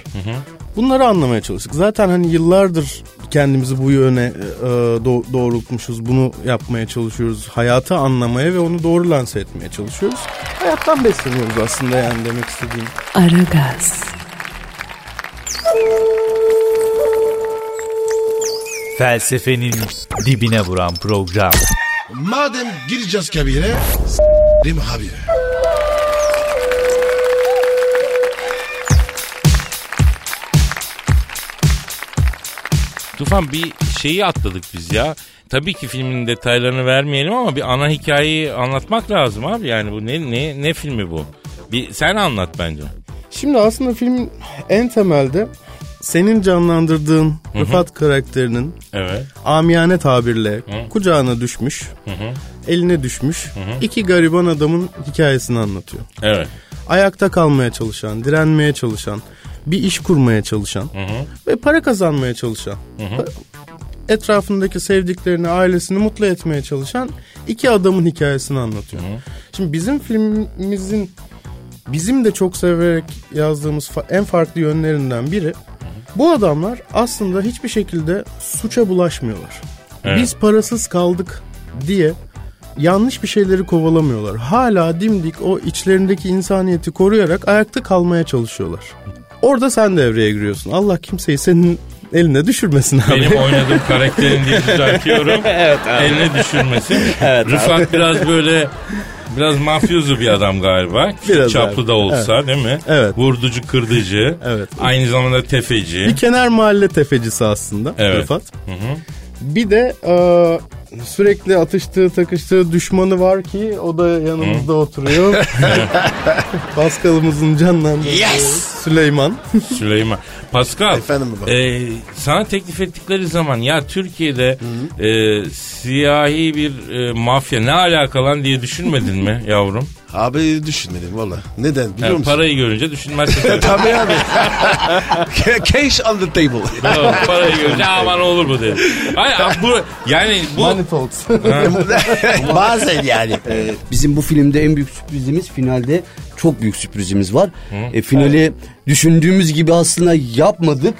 Speaker 8: Bunları anlamaya çalıştık. Zaten hani yıllardır kendimizi bu yöne e, do- doğrultmuşuz. Bunu yapmaya çalışıyoruz. Hayatı anlamaya ve onu doğru lanse etmeye çalışıyoruz. Hayattan besleniyoruz aslında yani demek istediğim.
Speaker 1: Aragaz,
Speaker 5: Felsefenin dibine vuran program.
Speaker 3: Madem gireceğiz kabire. Rim abi.
Speaker 4: Tufan bir şeyi atladık biz ya. tabii ki filmin detaylarını vermeyelim ama bir ana hikayeyi anlatmak lazım abi. Yani bu ne ne ne filmi bu? Bir sen anlat bence.
Speaker 8: Şimdi aslında film en temelde senin canlandırdığın Rıfat karakterinin
Speaker 4: Evet.
Speaker 8: amiyane tabirle kucağına düşmüş, eline düşmüş iki gariban adamın hikayesini anlatıyor.
Speaker 4: Evet.
Speaker 8: Ayakta kalmaya çalışan, direnmeye çalışan, bir iş kurmaya çalışan ve para kazanmaya çalışan. pa- Etrafındaki sevdiklerini, ailesini mutlu etmeye çalışan iki adamın hikayesini anlatıyor. Şimdi bizim filmimizin bizim de çok severek yazdığımız fa- en farklı yönlerinden biri bu adamlar aslında hiçbir şekilde suça bulaşmıyorlar. Biz parasız kaldık diye yanlış bir şeyleri kovalamıyorlar. Hala dimdik o içlerindeki insaniyeti koruyarak ayakta kalmaya çalışıyorlar. Orada sen devreye giriyorsun. Allah kimseyi senin eline düşürmesin abi.
Speaker 4: Benim oynadığım karakterin diye düzeltiyorum. Eline düşürmesin. Rıfat biraz böyle biraz mafyozu bir adam galiba.
Speaker 8: Biraz
Speaker 4: Çaplı
Speaker 8: abi.
Speaker 4: da olsa değil mi?
Speaker 8: Evet.
Speaker 4: Vurducu kırdıcı.
Speaker 8: Evet.
Speaker 4: Aynı zamanda tefeci.
Speaker 8: Bir kenar mahalle tefecisi aslında
Speaker 4: Evet.
Speaker 8: Rıfat. Bir de e, sürekli atıştığı takıştığı düşmanı var ki o da yanımızda oturuyor. Paskal'ımızın canlandığı Süleyman.
Speaker 4: Süleyman. Pascal.
Speaker 3: Efendim baba.
Speaker 4: e, sana teklif ettikleri zaman ya Türkiye'de e, siyahi bir e, mafya ne alaka lan diye düşünmedin mi yavrum?
Speaker 3: Abi düşünmedim valla. Neden biliyor
Speaker 4: Yani
Speaker 3: musun?
Speaker 4: parayı görünce düşünmezsin. tabii.
Speaker 3: Tabii abi. Cash on the table.
Speaker 4: Doğru, parayı görünce aman olur bu dedi. Hayır abi bu yani bu
Speaker 8: Manifolds.
Speaker 3: Bazen yani.
Speaker 7: Ee, Bizim bu filmde en büyük sürprizimiz finalde çok büyük sürprizimiz var. E, finali düşündüğümüz gibi aslında yapmadık.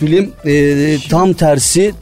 Speaker 7: Film e, tam tersi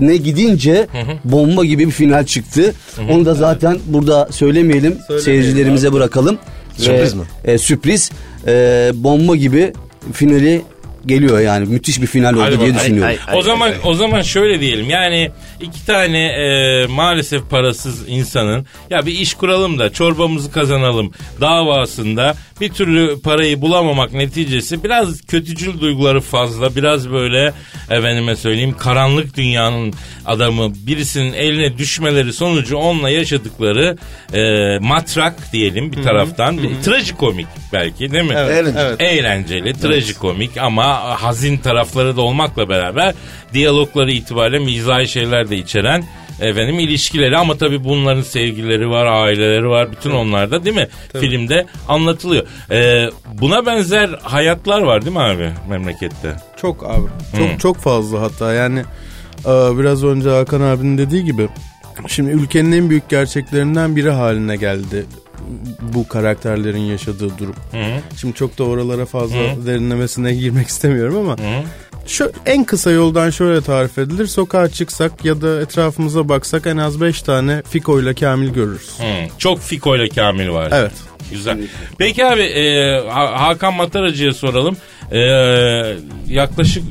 Speaker 7: ne gidince bomba gibi bir final çıktı. Onu da zaten burada söylemeyelim. Seyircilerimize bırakalım.
Speaker 3: Sürpriz
Speaker 7: Ve,
Speaker 3: mi?
Speaker 7: e, sürpriz. E, bomba gibi finali geliyor yani. Müthiş bir final oldu
Speaker 4: Hadi
Speaker 7: diye
Speaker 4: bakalım.
Speaker 7: düşünüyorum.
Speaker 4: o zaman o zaman şöyle diyelim yani iki tane e, maalesef parasız insanın ya bir iş kuralım da çorbamızı kazanalım davasında bir türlü parayı bulamamak neticesi biraz kötücül duyguları fazla biraz böyle efendime söyleyeyim karanlık dünyanın adamı birisinin eline düşmeleri sonucu onunla yaşadıkları e, matrak diyelim bir taraftan bir, trajikomik belki değil mi?
Speaker 3: Evet.
Speaker 4: Evet. Eğlenceli, trajikomik ama hazin tarafları da olmakla beraber diyalogları itibariyle mizahi şeyler de içeren efendim ilişkileri ama tabii bunların sevgileri var, aileleri var. Bütün onlar da değil mi? Filmde anlatılıyor. Ee, buna benzer hayatlar var değil mi abi memlekette?
Speaker 8: Çok abi. Çok çok fazla hatta yani e, biraz önce Hakan abinin dediği gibi şimdi ülkenin en büyük gerçeklerinden biri haline geldi bu karakterlerin yaşadığı durum. Şimdi çok da oralara fazla derinlemesine girmek istemiyorum ama şu en kısa yoldan şöyle tarif edilir. Sokağa çıksak ya da etrafımıza baksak en az 5 tane Fiko ile Kamil görürüz.
Speaker 4: Hı, Çok Fiko ile Kamil var.
Speaker 8: Evet.
Speaker 4: Güzel. Peki abi e, Ha- Hakan Mataracı'ya soralım. E, yaklaşık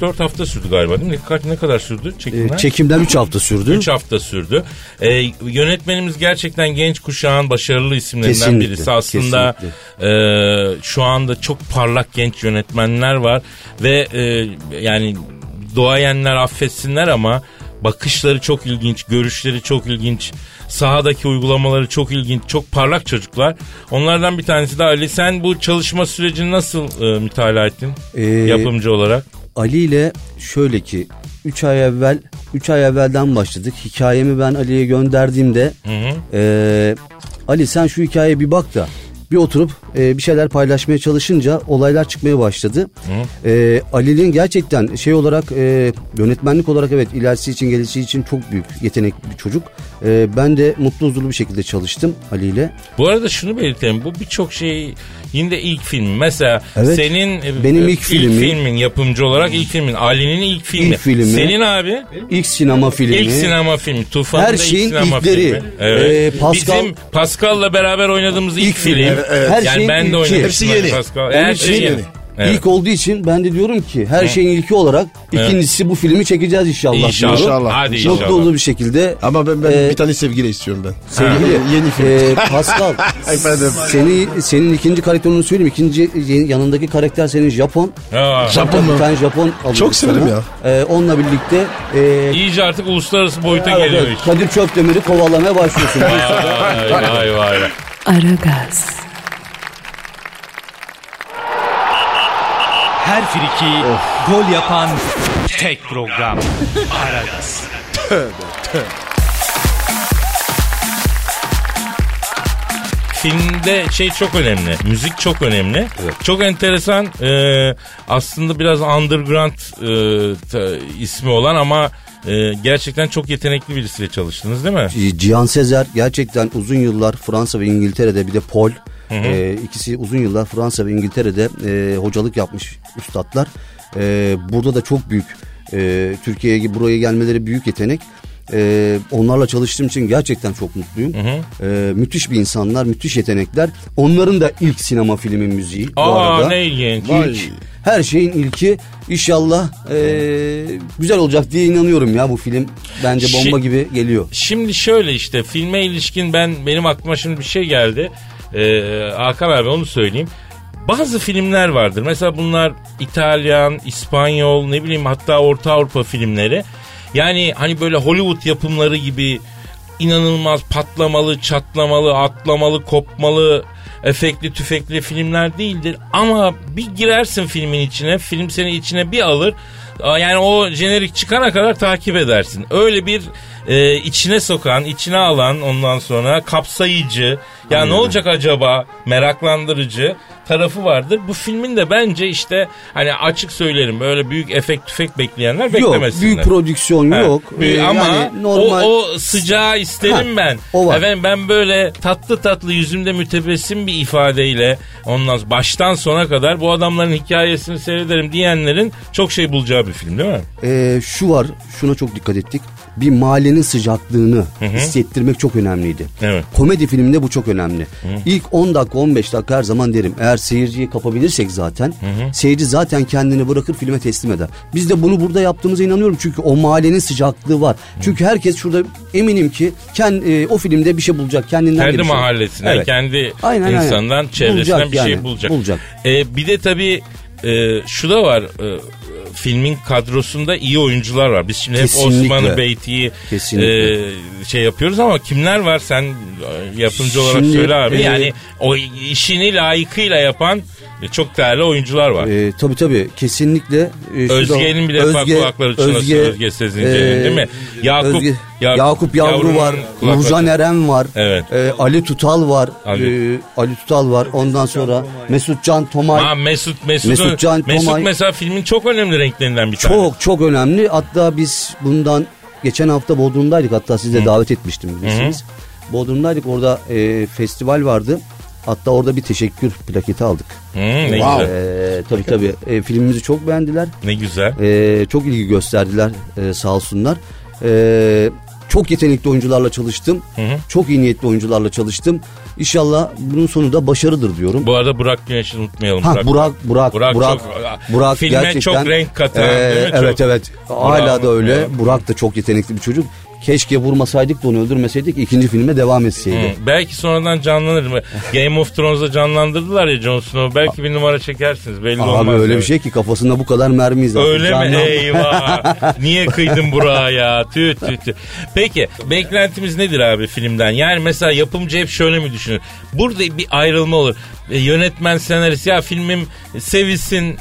Speaker 4: 3-4 hafta sürdü galiba değil mi? Kaç, ne kadar sürdü Ee, çekimler?
Speaker 7: E, Çekimden 3 hafta sürdü.
Speaker 4: 3 hafta sürdü. Ee, yönetmenimiz gerçekten genç kuşağın başarılı isimlerinden
Speaker 7: Kesinlikle,
Speaker 4: birisi. Aslında e, şu anda çok parlak genç yönetmenler var ve e, yani doğayenler affetsinler ama bakışları çok ilginç, görüşleri çok ilginç, sahadaki uygulamaları çok ilginç, çok parlak çocuklar. Onlardan bir tanesi de Ali. Sen bu çalışma sürecini nasıl e, mütalaa ettin
Speaker 7: Ee,
Speaker 4: yapımcı olarak?
Speaker 7: Ali ile şöyle ki 3 ay evvel 3 ay evvelden başladık. Hikayemi ben Ali'ye gönderdiğimde eee, Ali sen şu hikayeye bir bak da bir oturup eee, bir şeyler paylaşmaya çalışınca olaylar çıkmaya başladı. Eee, Ali'nin gerçekten şey olarak eee, yönetmenlik olarak evet ilerisi için gelişi için çok büyük yetenek bir çocuk. Eee, ben de mutlu huzurlu bir şekilde çalıştım Ali ile.
Speaker 4: Bu arada şunu belirtelim. Bu birçok şey yine de ilk film. Mesela
Speaker 7: Evet.
Speaker 4: senin e,
Speaker 7: Benim
Speaker 4: e,
Speaker 7: ilk filmi.
Speaker 4: filmin yapımcı olarak ilk filmin. Ali'nin ilk filmi.
Speaker 7: İlk filmi.
Speaker 4: Senin abi
Speaker 7: İlk sinema filmi.
Speaker 4: ilk sinema filmi. Tufan'da
Speaker 7: Her
Speaker 4: ilk
Speaker 7: şeyin
Speaker 4: sinema
Speaker 7: ilkleri.
Speaker 4: filmi. Evet.
Speaker 7: Ee, Pascal-
Speaker 4: Bizim Pascal'la beraber oynadığımız ilk,
Speaker 7: İlk
Speaker 4: film.
Speaker 7: film, evet, evet. Her
Speaker 4: Yani
Speaker 7: şeyin
Speaker 4: ben de
Speaker 7: ilki.
Speaker 4: oynadım.
Speaker 3: Hepsi yeni.
Speaker 4: Pascal.
Speaker 3: Benim
Speaker 4: Her
Speaker 3: için
Speaker 4: şey yeni.
Speaker 3: yeni.
Speaker 9: Evet.
Speaker 7: İlk olduğu için ben de diyorum ki her şeyin ilki olarak ikincisi bu filmi çekeceğiz inşallah.
Speaker 9: İnşallah.
Speaker 7: diyorum.
Speaker 3: İnşallah.
Speaker 9: Hadi
Speaker 7: Çok
Speaker 9: inşallah.
Speaker 7: dolu bir şekilde.
Speaker 3: Ama ben, ben
Speaker 7: Ee,
Speaker 3: bir tane sevgili istiyorum ben.
Speaker 7: Sevgili yeni film. Pascal.
Speaker 3: Efendim.
Speaker 7: Seni, senin ikinci karakterini söyleyeyim. İkinci yanındaki karakter senin Japon.
Speaker 9: Ya.
Speaker 3: Japon mu?
Speaker 7: Bir tane Japon alıyoruz
Speaker 3: Çok severim
Speaker 7: sana.
Speaker 3: ya.
Speaker 7: Ee, onunla birlikte e,
Speaker 9: İyice artık uluslararası boyuta
Speaker 7: evet,
Speaker 9: geliyor
Speaker 7: evet,
Speaker 9: iş.
Speaker 7: Kadir Çöpdemir'i kovalamaya başlıyorsun.
Speaker 9: Vay vay vay. vay.
Speaker 1: Aragaz,
Speaker 5: Her friki gol yapan tek program. Aragaz.
Speaker 4: Filmde şey çok önemli. Müzik çok önemli. Çok enteresan e, aslında biraz underground e, ta- ismi olan ama e, gerçekten çok yetenekli birisiyle çalıştınız değil mi?
Speaker 7: E, Cihan Sezer gerçekten uzun yıllar Fransa ve İngiltere'de bir de Pol e, ikisi uzun yıllar Fransa ve İngiltere'de e, hocalık yapmış üstadlar. E, burada da çok büyük e, Türkiye'ye buraya gelmeleri büyük yetenek. E, onlarla çalıştığım için gerçekten çok mutluyum. E, müthiş bir insanlar, müthiş yetenekler. Onların da ilk sinema filmi müziği bu
Speaker 4: Aa
Speaker 7: arada.
Speaker 4: ne ilginç.
Speaker 7: İlk, her şeyin ilki inşallah e, güzel olacak diye inanıyorum ya bu film. Bence bomba
Speaker 4: Şi-
Speaker 7: gibi geliyor.
Speaker 4: Şimdi şöyle işte filme ilişkin ben benim aklıma şimdi bir şey geldi. Ee, Hakan abi onu söyleyeyim. Bazı filmler vardır. Mesela bunlar İtalyan, İspanyol ne bileyim hatta Orta Avrupa filmleri. Yani hani böyle Hollywood yapımları gibi inanılmaz patlamalı, çatlamalı, atlamalı, kopmalı, efekli tüfekli filmler değildir. Ama bir girersin filmin içine, film seni içine bir alır. Aa, Yani o jenerik çıkana kadar takip edersin. Öyle bir e, içine sokan, içine alan ondan sonra kapsayıcı, ya ne olacak acaba meraklandırıcı tarafı vardır. Bu filmin de bence işte hani açık söylerim böyle büyük efekt tüfek bekleyenler beklemesinler.
Speaker 7: Yok büyük prodüksiyon
Speaker 4: Ha,
Speaker 7: yok.
Speaker 4: büyük
Speaker 7: Ee,
Speaker 4: ama
Speaker 7: yani normal
Speaker 4: o, o sıcağı isterim
Speaker 7: Ha,
Speaker 4: ben.
Speaker 7: o var.
Speaker 4: Efendim ben böyle tatlı tatlı yüzümde mütebessim bir ifadeyle ondan sonra baştan sona kadar bu adamların hikayesini seyrederim diyenlerin çok şey bulacağı bir film değil mi?
Speaker 7: Ee, şu var şuna çok dikkat ettik. Bir mahallenin sıcaklığını hissettirmek çok önemliydi.
Speaker 4: Evet.
Speaker 7: Komedi filminde bu çok önemli. İlk 10 dakika 15 dakika her zaman derim. Eğer seyirciyi kapabilirsek zaten seyirci zaten kendini bırakır filme teslim eder. Biz de bunu burada yaptığımıza inanıyorum. Çünkü o mahallenin sıcaklığı var. Çünkü herkes şurada eminim ki kend, e, o filmde bir şey bulacak. Kendinden de
Speaker 4: Kendi
Speaker 7: bir şey.
Speaker 4: mahallesine,
Speaker 7: Evet.
Speaker 4: kendi
Speaker 7: Aynen, aynen.
Speaker 4: insandan, çevresinden
Speaker 7: Bulacak
Speaker 4: bir şey
Speaker 7: yani,
Speaker 4: bulacak.
Speaker 7: bulacak.
Speaker 4: Ee, bir de tabii e, şu da var. e, filmin kadrosunda iyi oyuncular var. Biz şimdi
Speaker 7: Kesinlikle.
Speaker 4: hep Osman'ı, Beyti'yi
Speaker 7: Kesinlikle.
Speaker 4: e, şey yapıyoruz ama kimler var? Sen e, yapımcı olarak
Speaker 7: Şimdi,
Speaker 4: söyle abi.
Speaker 7: e,
Speaker 4: yani o işini layıkıyla yapan e, çok değerli oyuncular var.
Speaker 7: Ee, tabii tabii kesinlikle. e, şu
Speaker 4: Özge'nin
Speaker 7: da-
Speaker 4: bile bak kulakları çınlasın Özge, Sezinci'nin
Speaker 7: e,
Speaker 4: değil mi? Yakup,
Speaker 7: Özge-
Speaker 4: Yakup-
Speaker 7: Yakup Yavru
Speaker 4: Yavru'nun
Speaker 7: var,
Speaker 4: kulakları-
Speaker 7: Nurcan Eren var,
Speaker 4: Evet.
Speaker 7: e, Ali Tutal var,
Speaker 4: Ali.
Speaker 7: e, Ali Tutal var. Ondan sonra Mesut Can Tomay.
Speaker 4: Ha, Mesut Mesut
Speaker 7: Mesut Can
Speaker 4: Mesut
Speaker 7: Tomay-
Speaker 4: mesela filmin çok önemli renklerinden bir tanesi.
Speaker 7: Çok çok önemli. Hatta biz bundan geçen hafta Bodrum'daydık. Hatta sizi de davet etmiştim bilirsiniz. Bodrum'daydık orada e, festival vardı. Hatta orada bir teşekkür plaketi aldık.
Speaker 4: Hmm, ne güzel.
Speaker 7: E, tabii tabii. E, filmimizi çok beğendiler.
Speaker 4: Ne güzel.
Speaker 7: Ee, çok ilgi gösterdiler e, sağ olsunlar. Ee, çok yetenekli oyuncularla çalıştım. Çok iyi niyetli oyuncularla çalıştım. İnşallah bunun sonu da başarıdır diyorum.
Speaker 4: Bu arada Burak Güneş'i unutmayalım.
Speaker 7: ha Burak Burak
Speaker 4: Burak
Speaker 7: Burak Burak,
Speaker 4: çok- filme çok renk katan,
Speaker 7: Ee,
Speaker 4: değil mi?
Speaker 7: evet
Speaker 4: Çok-
Speaker 7: evet. Hala da
Speaker 4: Burak'ın-
Speaker 7: öyle.
Speaker 4: Evet.
Speaker 7: Burak da çok yetenekli bir çocuk. Keşke vurmasaydık da onu öldürmeseydik. ikinci filme devam etseydi.
Speaker 4: Hı, Belki sonradan canlanır mı? Game of Thrones'da canlandırdılar ya Jon Snow'u. Belki bir numara çekersiniz. Belli
Speaker 7: Abi
Speaker 4: olmaz.
Speaker 7: öyle
Speaker 4: yani.
Speaker 7: bir şey ki kafasında bu kadar mermi zaten.
Speaker 4: Öyle mi?
Speaker 7: Candan-
Speaker 4: Eyvah. Niye kıydın Burak'a ya? Tüh tüh tüh. Peki beklentimiz nedir abi filmden? Yani mesela yapımcı hep şöyle mi düşünür? Burada bir ayrılma olur. E, yönetmen senarist ya filmim sevilsin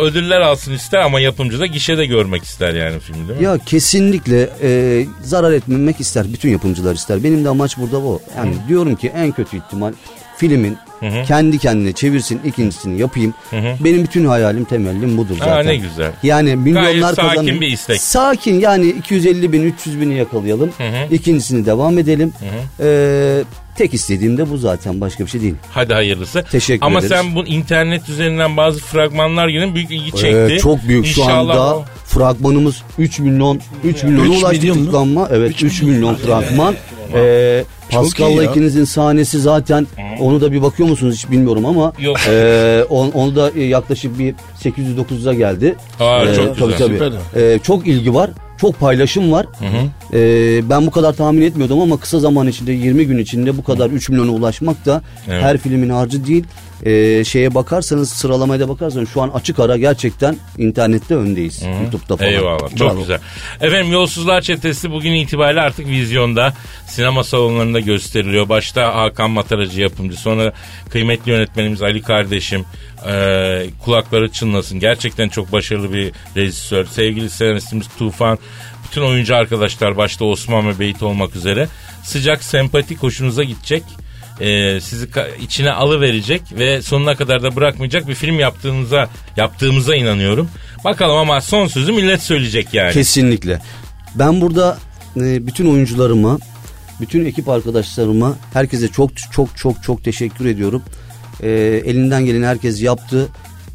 Speaker 4: e, ödüller alsın ister ama yapımcı da gişede görmek ister yani filmi değil mi?
Speaker 7: Ya kesinlikle e, zarar etmemek ister. Bütün yapımcılar ister. Benim de amaç burada o. Yani diyorum ki en kötü ihtimal filmin kendi kendine çevirsin ikincisini yapayım. Benim bütün hayalim temellim budur zaten.
Speaker 4: ne güzel.
Speaker 7: Yani milyonlar
Speaker 4: sakin
Speaker 7: kazanın-
Speaker 4: bir istek.
Speaker 7: Sakin yani 250 bin 300 bini yakalayalım. İkincisini devam edelim. E, tek istediğim de bu zaten başka bir şey değil.
Speaker 4: Hadi hayırlısı.
Speaker 7: Teşekkür
Speaker 4: Ama
Speaker 7: ederiz.
Speaker 4: sen bu internet üzerinden bazı fragmanlar yine büyük ilgi çekti.
Speaker 7: Ee, çok büyük şu
Speaker 4: İnşallah
Speaker 7: anda
Speaker 4: o-
Speaker 7: fragmanımız 3 milyon 3 milyona
Speaker 3: Üç
Speaker 7: ulaştı
Speaker 3: milyon mu?
Speaker 7: tıklanma. Evet 3 milyon fragman.
Speaker 3: iyi
Speaker 7: Ee, Pascal'la
Speaker 3: ya.
Speaker 7: ikinizin sahnesi zaten Onu da bir bakıyor musunuz hiç bilmiyorum ama
Speaker 4: Yok.
Speaker 7: e, on- onu da e, yaklaşık bir 800-900'a geldi.
Speaker 4: Aa,
Speaker 7: E,
Speaker 4: çok
Speaker 7: tabii,
Speaker 4: güzel.
Speaker 7: tabii. E, çok ilgi var. Çok paylaşım var. E, ben bu kadar tahmin etmiyordum ama kısa zaman içinde 20 gün içinde bu kadar 3 milyona ulaşmak da
Speaker 4: Evet.
Speaker 7: her filmin harcı değil. E, şeye bakarsanız sıralamaya da bakarsanız şu an açık ara gerçekten internette öndeyiz. YouTube'da falan.
Speaker 4: Eyvallah çok
Speaker 7: Bravo.
Speaker 4: güzel. Efendim Yolsuzlar Çetesi bugün itibariyle artık vizyonda sinema salonlarında gösteriliyor. Başta Hakan Mataracı yapımcı sonra kıymetli yönetmenimiz Ali kardeşim eee, kulakları çınlasın. Gerçekten çok başarılı bir rejisör. Sevgili senaristimiz Tufan bütün oyuncu arkadaşlar başta Osman ve Beyt olmak üzere sıcak sempatik hoşunuza gidecek e, sizi ka- içine alıverecek ve sonuna kadar da bırakmayacak bir film yaptığınıza yaptığımıza inanıyorum. Bakalım ama son sözü millet söyleyecek yani.
Speaker 7: Kesinlikle. Ben burada e, bütün oyuncularıma, bütün ekip arkadaşlarıma, herkese çok çok çok çok teşekkür ediyorum. E, elinden geleni herkes yaptı.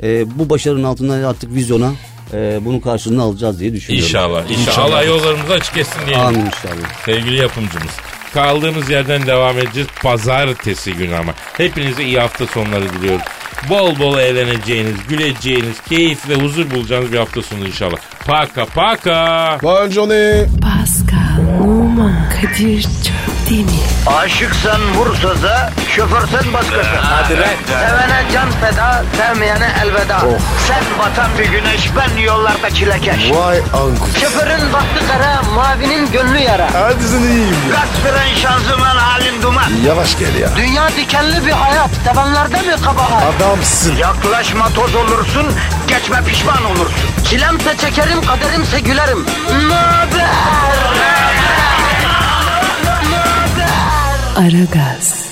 Speaker 7: E, bu başarının altından artık vizyona e, bunun karşılığını alacağız diye düşünüyorum.
Speaker 4: İnşallah, inşallah. Allah yollarımızı açık etsin diyelim.
Speaker 7: Amin inşallah.
Speaker 4: Sevgili yapımcımız. Kaldığımız yerden devam edeceğiz. Pazartesi günü ama. Hepinize iyi hafta sonları diliyoruz. Bol bol eğleneceğiniz, güleceğiniz, keyif ve huzur bulacağınız bir hafta sonu inşallah. Paka paka.
Speaker 3: Bonjour.
Speaker 1: Pascal, Oman, Kadir çok değil mi?
Speaker 2: Aşıksan vursa da, şoförsen başkasın. Hadi Sevene can feda, sevmeyene elveda. Sen batan bir güneş, ben yollarda çilekeş.
Speaker 3: Vay anku.
Speaker 2: Şoförün baktı kara, mavinin gönlü yara.
Speaker 3: Hadi sen iyiyim ya.
Speaker 2: Kasperen şanzıman halin duman.
Speaker 3: Yavaş gel ya.
Speaker 2: Dünya dikenli bir hayat, sevenlerde mi kabahar?
Speaker 3: Adamsın.
Speaker 2: Yaklaşma toz olursun, geçme pişman olursun. Çilemse çekerim, kaderimse gülerim. Möber!
Speaker 1: Aragaz.